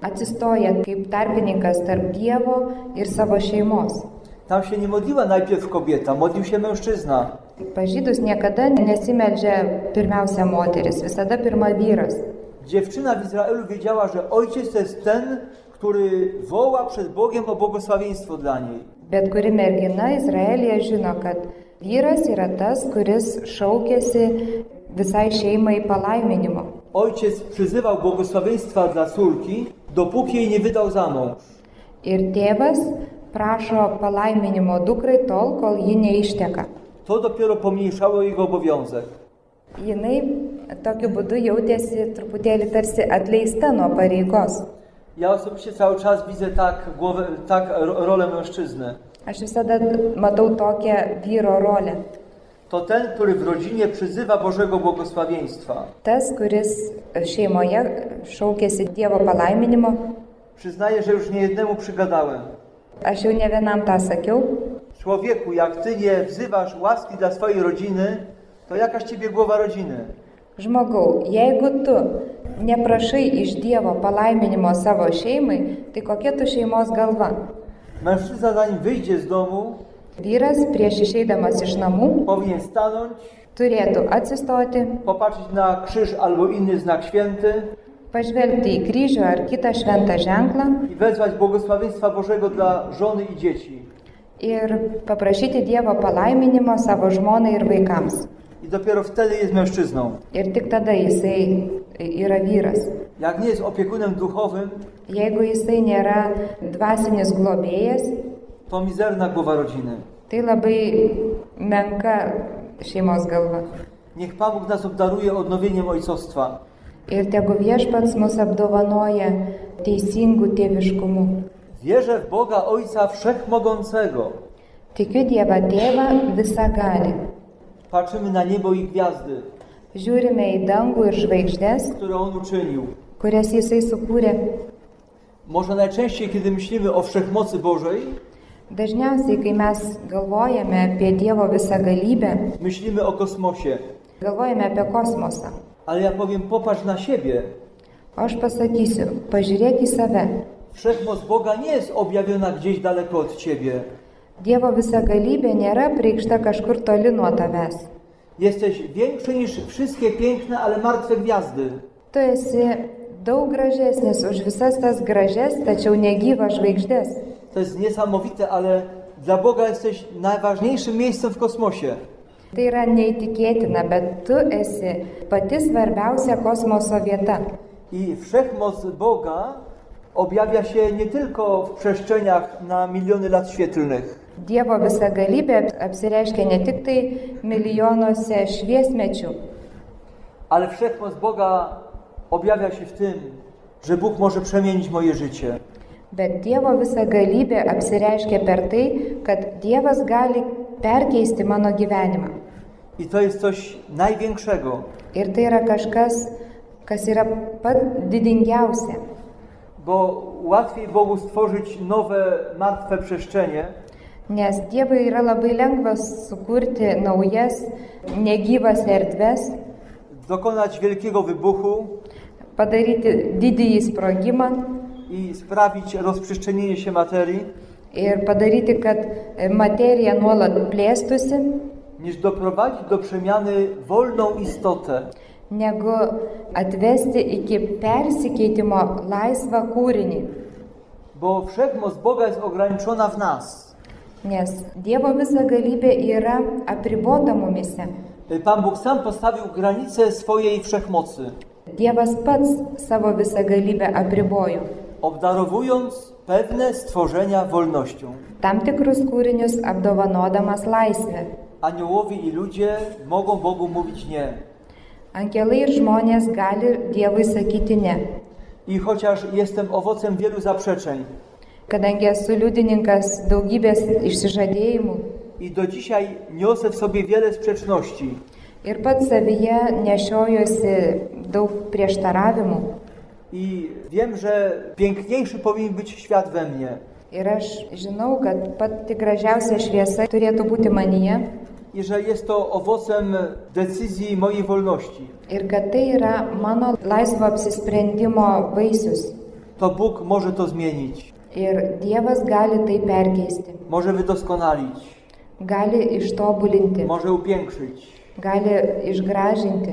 Speaker 3: atsistoja kaip tarpininkas tarp Dievo ir savo šeimos.
Speaker 2: Tam się nie modliła najpierw kobieta, modlił się mężczyzna.
Speaker 3: Pas žydus niekada nesimeldžia pirmiausia moteris, visada pirma vyras.
Speaker 2: Dziewczyna w Izraelu wiedziała, że ojciec to jest ten, który woła przed Bogiem o błogosławieństwo dla niej.
Speaker 3: Bet kuri mergina Izraelija žino, kad vyras yra tas, kuris šaukėsi visai šeimai palaiminimo.
Speaker 2: Ojciec przyzywał błogosławieństwa dla córki, dopóki jej nie wydał za mąż.
Speaker 3: Ir tėvas prašo palaiminimo dukrai tol, kol ji neišteka.
Speaker 2: To dopiero pomniejszało jego obowiązek.
Speaker 3: Jinai tokiu būdu jautėsi truputėlį tarsi atleista nuo pareigos.
Speaker 2: Ja osobiście cały czas widzę tak, głowę, tak ro- rolę mężczyzny.
Speaker 3: Aš visada matau tokią vyro rolę.
Speaker 2: To ten, który w rodzinie przyzywa Bożego błogosławieństwa.
Speaker 3: Tas, kuris šeimoje šaukėsi Dievo palaiminimo,
Speaker 2: Przyznaję, że już niejednemu przygadałem.
Speaker 3: aš jau ne vienam tą sakiau,
Speaker 2: Człowieku, jak ty nie wzywasz łaski dla swojej rodziny, to jakaś ciebie głowa rodziny?
Speaker 3: žmogau, jeigu tu neprašai iš Dievo palaiminimo savo šeimai, tai kokia tu šeimos galva?
Speaker 2: Mężczyzna, zanim wyjdzie z domu,
Speaker 3: Vyras prieš išeidamas iš namų
Speaker 2: powinien stanąć,
Speaker 3: turėtų atsistoti,
Speaker 2: popatrzeć na krzyż albo inny znak święty
Speaker 3: pažvelgti į kryžių ar kitą šventą ženklą
Speaker 2: i wezwać błogosławieństwa Bożego dla żony i dzieci.
Speaker 3: ir paprašyti Dievo palaiminimo savo žmonai ir vaikams.
Speaker 2: I dopiero wtedy jest mężczyzną.
Speaker 3: Ir tik tada jisai yra vyras.
Speaker 2: Jak nie jest opiekunem duchowym,
Speaker 3: Jeigu jisai nėra dvasinis globėjas,
Speaker 2: to mizerna głowa rodziny.
Speaker 3: tai labai menka šeimos galva.
Speaker 2: Niech Pan Bóg nas obdaruje odnowieniem ojcostwa.
Speaker 3: Ir tegu viešpats mus apdovanoja teisingų tėviškumų.
Speaker 2: Wierzę w Boga Ojca Wszechmogącego.
Speaker 3: Tikiu Dievą Tėvą visą gali.
Speaker 2: Patrzymy na niebo i gwiazdy,
Speaker 3: Žiūrime į dangų ir žvaigždės,
Speaker 2: które On uczynił.
Speaker 3: kurias jisai sukūrė.
Speaker 2: Może najczęściej, kiedy myślimy o wszechmocy Bożej,
Speaker 3: Dažniausiai, kai mes galvojame apie Dievo visą galybę,
Speaker 2: myślimy o kosmosie.
Speaker 3: galvojame apie kosmosą.
Speaker 2: Ale ja powiem, popatrz na siebie.
Speaker 3: O aš pasakysiu, pažiūrėk į save.
Speaker 2: Wszechmoc Boga nie jest objawiona gdzieś daleko od ciebie.
Speaker 3: Dievo visa galybė nėra prieikšta kažkur toli nuo tavęs.
Speaker 2: Jesteś większy niż wszystkie piękne, ale martwe gwiazdy.
Speaker 3: Tu esi daug gražesnis už visas tas gražias, tačiau negyvas žvaigždės.
Speaker 2: To jest niesamowite, ale dla Boga jesteś najważniejszym miejscem w kosmosie.
Speaker 3: Tai yra neįtikėtina, bet tu esi pati svarbiausia kosmoso vieta.
Speaker 2: I wszechmoc Boga objawia się nie tylko w przestrzeniach na miliony lat świetlnych,
Speaker 3: Dievo visa galybė apsireiškia ne tik tai milijonuose šviesmečių,
Speaker 2: ale wszechmoc Boga objawia się w tym, że Bóg może przemienić moje życie.
Speaker 3: bet Dievo visa galybė apsireiškia per tai, kad Dievas gali perkeisti mano gyvenimą.
Speaker 2: I to jest coś największego,
Speaker 3: Ir tai yra kažkas, kas yra pat didingiausia.
Speaker 2: bo łatwiej Bogu stworzyć nowe, martwe przestrzenie,
Speaker 3: Nes Dievui yra labai lengvas sukurti naujas, negyvas erdves,
Speaker 2: dokonać wielkiego wybuchu
Speaker 3: padaryti didįjį sprogimą
Speaker 2: i sprawić rozprzestrzenienie się materii,
Speaker 3: ir padaryti, kad materija nuolat plėstusi,
Speaker 2: niż doprowadzić do przemiany wolną istotę.
Speaker 3: negu atvesti iki persikeitimo laisvą kūrinį.
Speaker 2: Bo wszechmoc Boga jest ograniczona w nas.
Speaker 3: Nes Dievo visa galybė yra apribota mumise.
Speaker 2: Pan Bóg sam postawił granice swojej wszechmocy,
Speaker 3: Dievas pats savo visą galybę apribojo.
Speaker 2: obdarowując pewne stworzenia wolnością.
Speaker 3: Tam tikrus kūrinius apdovanodamas laisvę.
Speaker 2: Aniołowie i ludzie mogą Bogu mówić nie.
Speaker 3: Angelai ir žmonės gali Dievui sakyti ne.
Speaker 2: I chociaż jestem owocem wielu zaprzeczeń
Speaker 3: Kadangi esu liudininkas daugybės išsižadėjimų
Speaker 2: i do dzisiaj niosę w sobie wiele sprzeczności,
Speaker 3: ir pats savyje nešiojuosi daug prieštaravimų
Speaker 2: i wiem, że piękniejszy powinien być świat we mnie.
Speaker 3: ir aš žinau, kad pati gražiausia šviesa turėtų būti manyje,
Speaker 2: i że jest to owocem decyzji mojej wolności,
Speaker 3: ir kad tai yra mano laisvo apsisprendimo vaisius.
Speaker 2: to Bóg może to zmienić,
Speaker 3: Ir Dievas gali tai perkeisti,
Speaker 2: może wydoskonalić,
Speaker 3: gali ištobulinti,
Speaker 2: może upiększyć.
Speaker 3: gali išgražinti.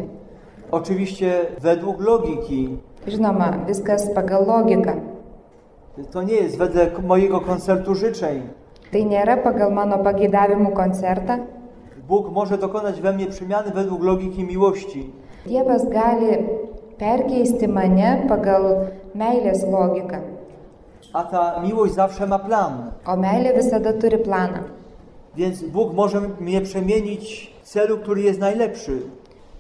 Speaker 2: Oczywiście według logiki,
Speaker 3: Žinoma, viskas pagal logiką.
Speaker 2: to nie jest wedle mojego koncertu życzeń.
Speaker 3: Tai nėra pagal mano pageidavimų koncertą.
Speaker 2: Bóg może dokonać we mnie przemiany według logiki miłości.
Speaker 3: Dievas gali perkeisti mane pagal meilės logiką,
Speaker 2: A ta miłość zawsze ma plan,
Speaker 3: o meilė visada turi planą.
Speaker 2: więc Bóg może mnie przemienić w celu, który jest najlepszy.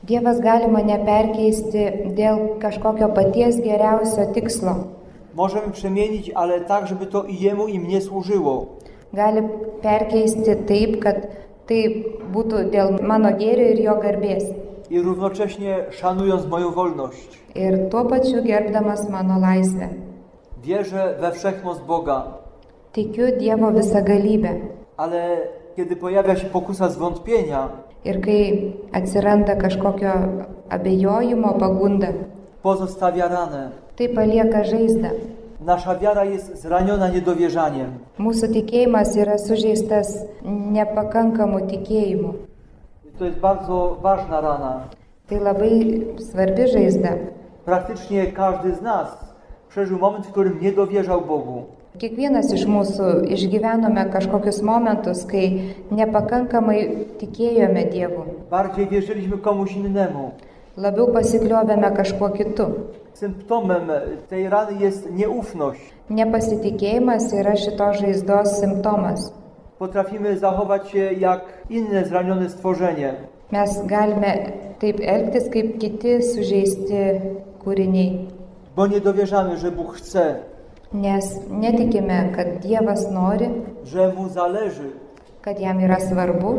Speaker 3: Dievas gali mane perkeisti dėl kažkokio paties geriausio tikslo.
Speaker 2: Może mnie przemienić, ale tak, żeby to i Jemu, i mnie służyło.
Speaker 3: Gali perkeisti taip, kad tai būtų dėl mano gėrio ir jo garbės.
Speaker 2: I równocześnie szanując moją wolność.
Speaker 3: Ir tuo pačiu gerbdamas mano laisvę.
Speaker 2: Wierzę we wszechmoc Boga,
Speaker 3: Tikiu Dievo visagalybę.
Speaker 2: ale kiedy pojawia się pokusa zwątpienia,
Speaker 3: Ir kai atsiranda kažkokio abejojimo pagunda,
Speaker 2: pozostawia ranę.
Speaker 3: tai palieka žaizdą.
Speaker 2: Nasza wiara jest zraniona niedowierzaniem.
Speaker 3: Mūsų tikėjimas yra sužeistas nepakankamu tikėjimu.
Speaker 2: To jest bardzo ważna rana.
Speaker 3: Tai labai svarbi žaizda.
Speaker 2: Praktycznie każdy z nas przeżył moment, w którym nie dowierzał Bogu.
Speaker 3: Kiekvienas iš mūsų išgyvenome kažkokius momentus, kai nepakankamai tikėjome Dievu.
Speaker 2: Bardziej wierzyliśmy komuś innemu.
Speaker 3: Labiau pasikliovėme kažkuo kitu.
Speaker 2: Symptomem tej rany jest nieufność.
Speaker 3: Nepasitikėjimas yra šitos žaizdos simptomas.
Speaker 2: Potrafimy zachować się jak inne zranione stworzenie.
Speaker 3: Mes galime taip elgtis kaip kiti sužeisti kūriniai,
Speaker 2: Bo nie dowierzamy, że Bóg chce,
Speaker 3: nes netikime, kad Dievas nori,
Speaker 2: że Mu zależy.
Speaker 3: kad jam yra svarbu,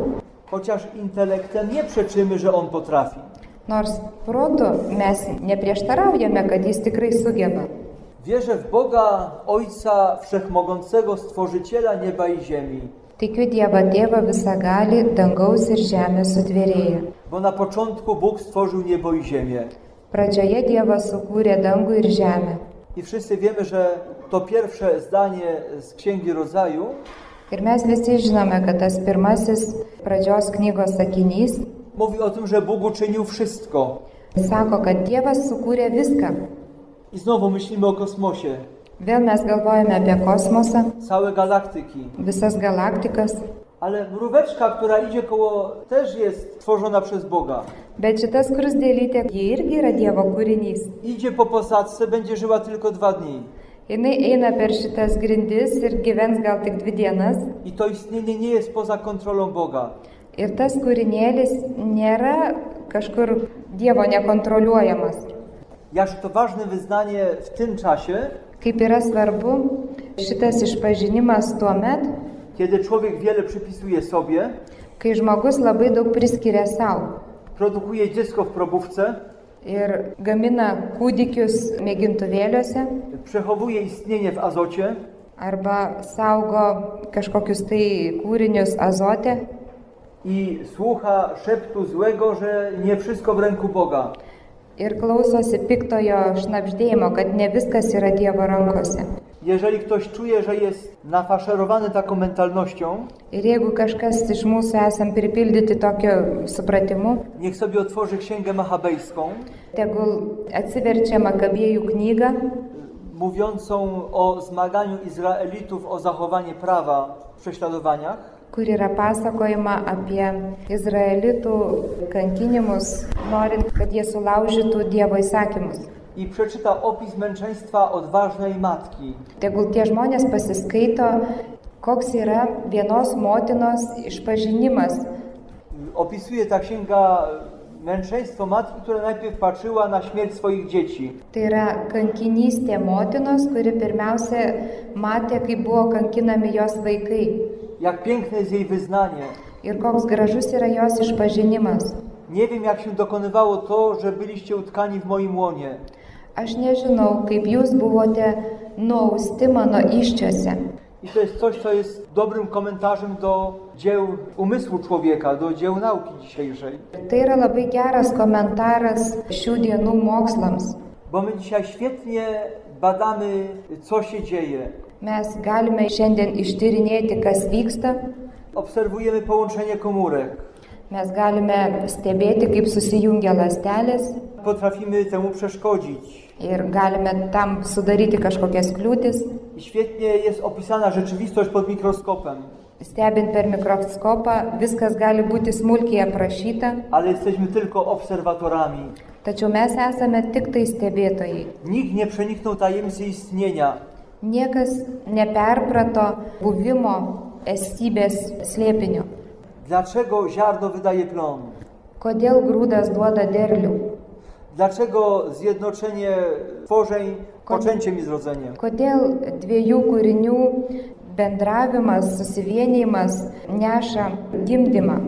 Speaker 2: Chociaż intelektem nie przeczymy, że On potrafi.
Speaker 3: nors protu mes neprieštaraujame, kad jis tikrai sugeba.
Speaker 2: Wierzę w Boga, Ojca Wszechmogącego, Stworzyciela nieba i ziemi.
Speaker 3: Tikiu Dievą Tėvą visagali, dangaus ir žemės sutvėrėję.
Speaker 2: Bo na początku Bóg stworzył niebo i ziemię.
Speaker 3: Pradžioje Dievas sukūrė dangų ir žemę.
Speaker 2: I wszyscy wiemy, że to pierwsze zdanie z Księgi Rodzaju
Speaker 3: Ir mes visi žinome, kad tas pirmasis pradžios knygos sakinys
Speaker 2: mówi o tym, że Bóg uczynił wszystko.
Speaker 3: sako, kad Dievas sukūrė viską.
Speaker 2: I znowu myślimy o kosmosie,
Speaker 3: Vėl mes galvojame apie kosmosą,
Speaker 2: całe galaktyki.
Speaker 3: visas galaktikas,
Speaker 2: Ale mróweczka, która idzie koło, też jest tworzona przez Boga.
Speaker 3: bet šitas krusdėlytė, ji irgi yra Dievo kūrinys.
Speaker 2: Idzie po posadzce, będzie żyła tylko dwa dni.
Speaker 3: Jis eina per šitas grindis ir gyvens gal tik dvi dienas.
Speaker 2: I to istnienie nie jest poza kontrolą Boga.
Speaker 3: Ir tas kūrinėlis nėra kažkur Dievo nekontroliuojamas.
Speaker 2: Jakże to ważne wyznanie w tym czasie,
Speaker 3: Kaip yra svarbu šitas išpažinimas tuo met,
Speaker 2: kiedy człowiek wiele przypisuje sobie,
Speaker 3: kai žmogus labai daug priskiria savo
Speaker 2: produkuje dziecko w probówce,
Speaker 3: ir gamina kūdikius mėgintuvėliuose
Speaker 2: przechowuje istnienie w azocie,
Speaker 3: arba saugo kažkokius tai kūrinius azote
Speaker 2: i słucha szeptu złego, że nie wszystko w ręku Boga.
Speaker 3: ir klausosi piktojo šnapždėjimo, kad ne viskas yra Dievo rankose.
Speaker 2: Jeżeli ktoś czuje, że jest nafaszerowany taką mentalnością,
Speaker 3: Ir jeigu kažkas iš mūsų esam pripildyti tokiu supratimu,
Speaker 2: niech sobie otworzy księgę machabejską,
Speaker 3: tegul atsiverčia Makabėjų knygą,
Speaker 2: mówiącą o zmaganiu Izraelitów o zachowanie prawa w prześladowaniach.
Speaker 3: kur yra pasakojama apie izraelitų kankinimus, norint, kad jie sulaužytų Dievo įsakymus.
Speaker 2: I przeczyta opis męczeństwa odważnej matki.
Speaker 3: Tegul tie žmonės pasiskaito, koks yra vienos motinos išpažinimas.
Speaker 2: Opisuje ta księga e, męczeństwo matki, która najpierw patrzyła na śmierć swoich dzieci.
Speaker 3: Tai yra kankinystė motinos, kuri pirmiausia matė, kaip buvo kankinami jos vaikai
Speaker 2: Jak piękne jest jej wyznanie.
Speaker 3: ir koks gražus yra jos išpažinimas.
Speaker 2: Nie wiem, jak się dokonywało to, że byliście utkani w moim łonie.
Speaker 3: Aš nežinau, kaip jūs buvote nuausti mano iščiose.
Speaker 2: I to jest coś, co jest dobrym komentarzem do dzieł umysłu człowieka, do dzieł nauki dzisiejszej.
Speaker 3: Tai yra labai geras komentaras šių dienų mokslams.
Speaker 2: Bo my dzisiaj świetnie badamy, co się dzieje.
Speaker 3: Mes galime šiandien ištyrinėti, kas vyksta,
Speaker 2: Obserwujemy połączenie komórek.
Speaker 3: mes galime stebėti, kaip susijungia lastelės
Speaker 2: Potrafimy temu przeszkodzić.
Speaker 3: ir galime tam sudaryti kažkokias kliūtis.
Speaker 2: I świetnie jest opisana rzeczywistość pod mikroskopem.
Speaker 3: Stebint per mikroskopą, viskas gali būti smulkiai aprašyta,
Speaker 2: Ale jesteśmy tylko obserwatorami.
Speaker 3: tačiau mes esame tik tai stebėtojai.
Speaker 2: Nikt nie przeniknął tajemnicy istnienia.
Speaker 3: Niekas neperprato buvimo esybės slėpinių.
Speaker 2: Dlaczego ziarno wydaje plon?
Speaker 3: Kodėl grūdas duoda derlių?
Speaker 2: Dlaczego zjednoczenie tworzeń poczęciem i zrodzeniem?
Speaker 3: Kodėl dviejų kūrinių bendravimas, susivienijimas neša gimdymą?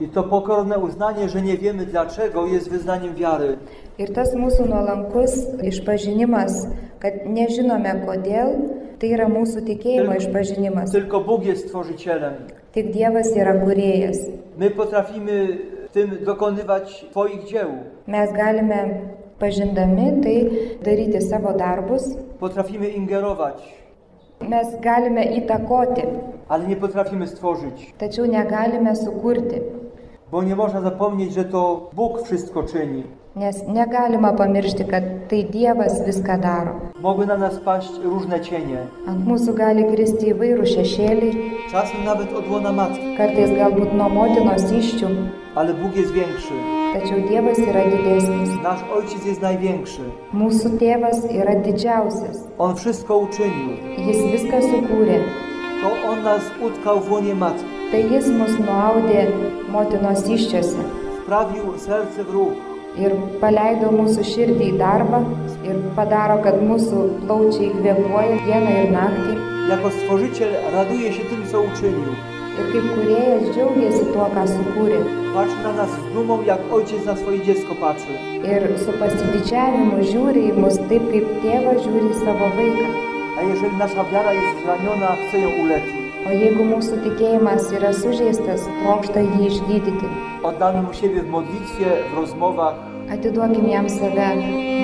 Speaker 2: I to pokorne uznanie, że nie wiemy dlaczego, jest wyznaniem wiary.
Speaker 3: Ir tas mūsų nuolankus išpažinimas, kad nežinome kodėl, tai yra mūsų tikėjimo išpažinimas.
Speaker 2: Tylko Bóg jest stworzycielem.
Speaker 3: Tik Dievas yra kuriejas.
Speaker 2: My potrafimy w tym dokonywać Twoich dzieł.
Speaker 3: Mes galime pažindami tai daryti savo darbus,
Speaker 2: Potrafimy ingerować,
Speaker 3: mes galime įtakoti,
Speaker 2: ale nie potrafimy stworzyć,
Speaker 3: tačiau negalime sukurti,
Speaker 2: bo nie można zapomnieć, że to Bóg wszystko czyni.
Speaker 3: nes negalima pamiršti, kad tai Dievas viską daro.
Speaker 2: Mogły na nas paść różne cienie,
Speaker 3: Ant mūsų gali kristi įvairių šešėliai,
Speaker 2: czasem nawet od łona matki,
Speaker 3: kartais galbūt nuo motinos iščių,
Speaker 2: ale Bóg jest większy.
Speaker 3: tačiau Dievas yra didesnis.
Speaker 2: Nasz Ojciec jest największy.
Speaker 3: Mūsų tėvas yra didžiausias,
Speaker 2: On wszystko uczynił.
Speaker 3: jis viską sukūrė,
Speaker 2: To On nas utkał w łonie matki,
Speaker 3: tai jis mus nuaudė motinos iščiose
Speaker 2: wprawił serce w ruch,
Speaker 3: ir paleido mūsų širdį į darbą ir padaro, kad mūsų plaučiai kvėpuoja dieną ir naktį.
Speaker 2: Jako stworzyciel raduje się tym, co uczynił.
Speaker 3: Ir kaip kuriejas džiaugiasi tuo, ką sukūrė.
Speaker 2: Patrzy na nas z dumą, jak ojciec na swoje dziecko patrzy.
Speaker 3: Ir su pasididžiavimu žiūri į mus taip, kaip tėvas žiūri į savo vaiką.
Speaker 2: A jeżeli nasza wiara jest zraniona, chce ją uleczyć.
Speaker 3: O jeigu mūsų tikėjimas yra sužeistas, trokšta jį išgydyti.
Speaker 2: Oddamy mu siebie w modlitwie, w rozmowach,
Speaker 3: Atiduokim jam save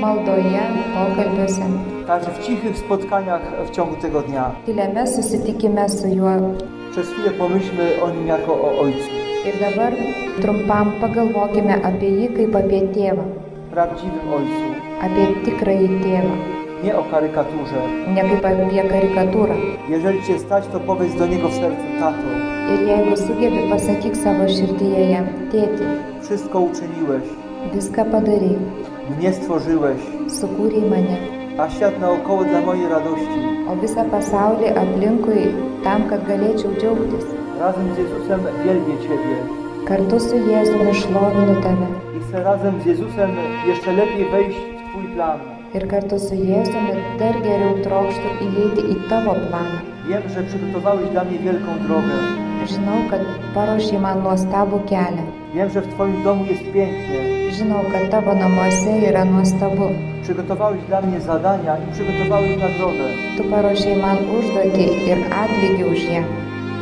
Speaker 3: maldoje, pokalbiuose,
Speaker 2: także w cichych spotkaniach w ciągu tego dnia.
Speaker 3: tyliame susitikime su juo.
Speaker 2: Przez chwilę pomyślmy o nim jako o ojcu.
Speaker 3: Ir dabar trumpam pagalvokime apie jį kaip apie tėvą,
Speaker 2: Prawdziwym ojcu,
Speaker 3: apie tikrąjį tėvą,
Speaker 2: nie o karykaturze.
Speaker 3: ne kaip apie karikatūrą.
Speaker 2: Jeżeli cię stać, to powiedz do niego w sercu, tato,
Speaker 3: Ir jeigu sugebi, pasakyk savo širdyje jam, tėti,
Speaker 2: wszystko uczyniłeś,
Speaker 3: viską padarai,
Speaker 2: mnie stworzyłeś,
Speaker 3: sukūrei mane,
Speaker 2: a świat naokoło dla mojej radości.
Speaker 3: o visą pasaulį aplinkui tam, kad galėčiau džiaugtis.
Speaker 2: Razem z Jezusem wielbię Ciebie
Speaker 3: Kartu su Jėzumi šlovinu tave
Speaker 2: i chcę razem z Jezusem jeszcze lepiej wejść w Twój plan.
Speaker 3: ir kartu su Jėzumi dar geriau trokštų įeiti į tavo planą.
Speaker 2: Wiem, że przygotowałeś dla mnie wielką drogę.
Speaker 3: Žinau, kad paruošiai man nuostabų kelią.
Speaker 2: Wiem, że w Twoim domu jest pięknie.
Speaker 3: Žinau, kad tavo namuose yra nuostabu.
Speaker 2: Przygotowałeś dla mnie zadania i przygotowałeś nagrodę.
Speaker 3: Tu paruošiai man užduotį ir atlygį už ją.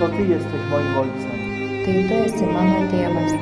Speaker 2: To Ty jesteś moim Ojcem.
Speaker 3: Tai tu esi mano tėvas.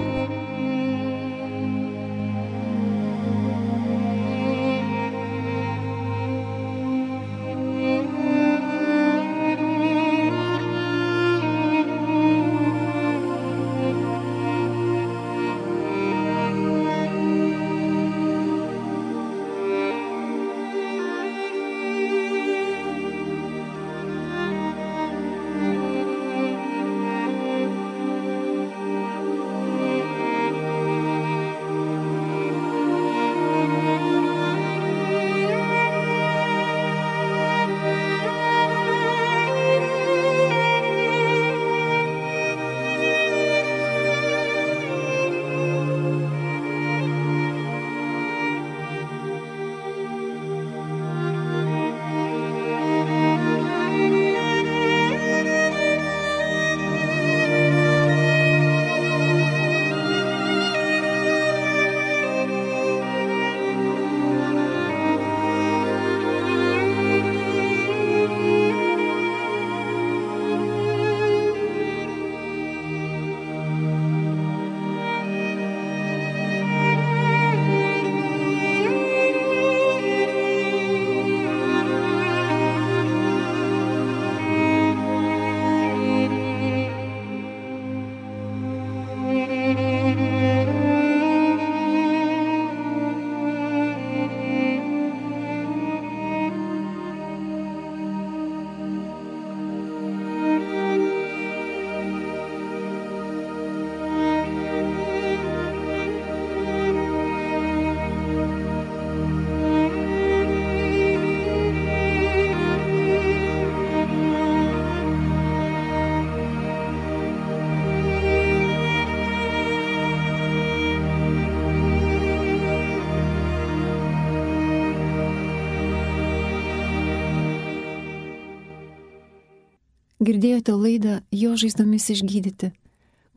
Speaker 1: Girdėjote laidą Jo žaizdomis išgydyti,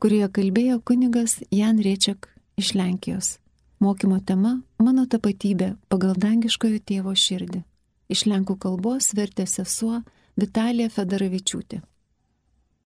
Speaker 1: kurioje kalbėjo kunigas Jan Riečiak iš Lenkijos. Mokymo tema - Mano tapatybė pagal dangiškojo tėvo širdį. Iš lenkų kalbos vertė sesuo Vitalija Fedaravičiūtė.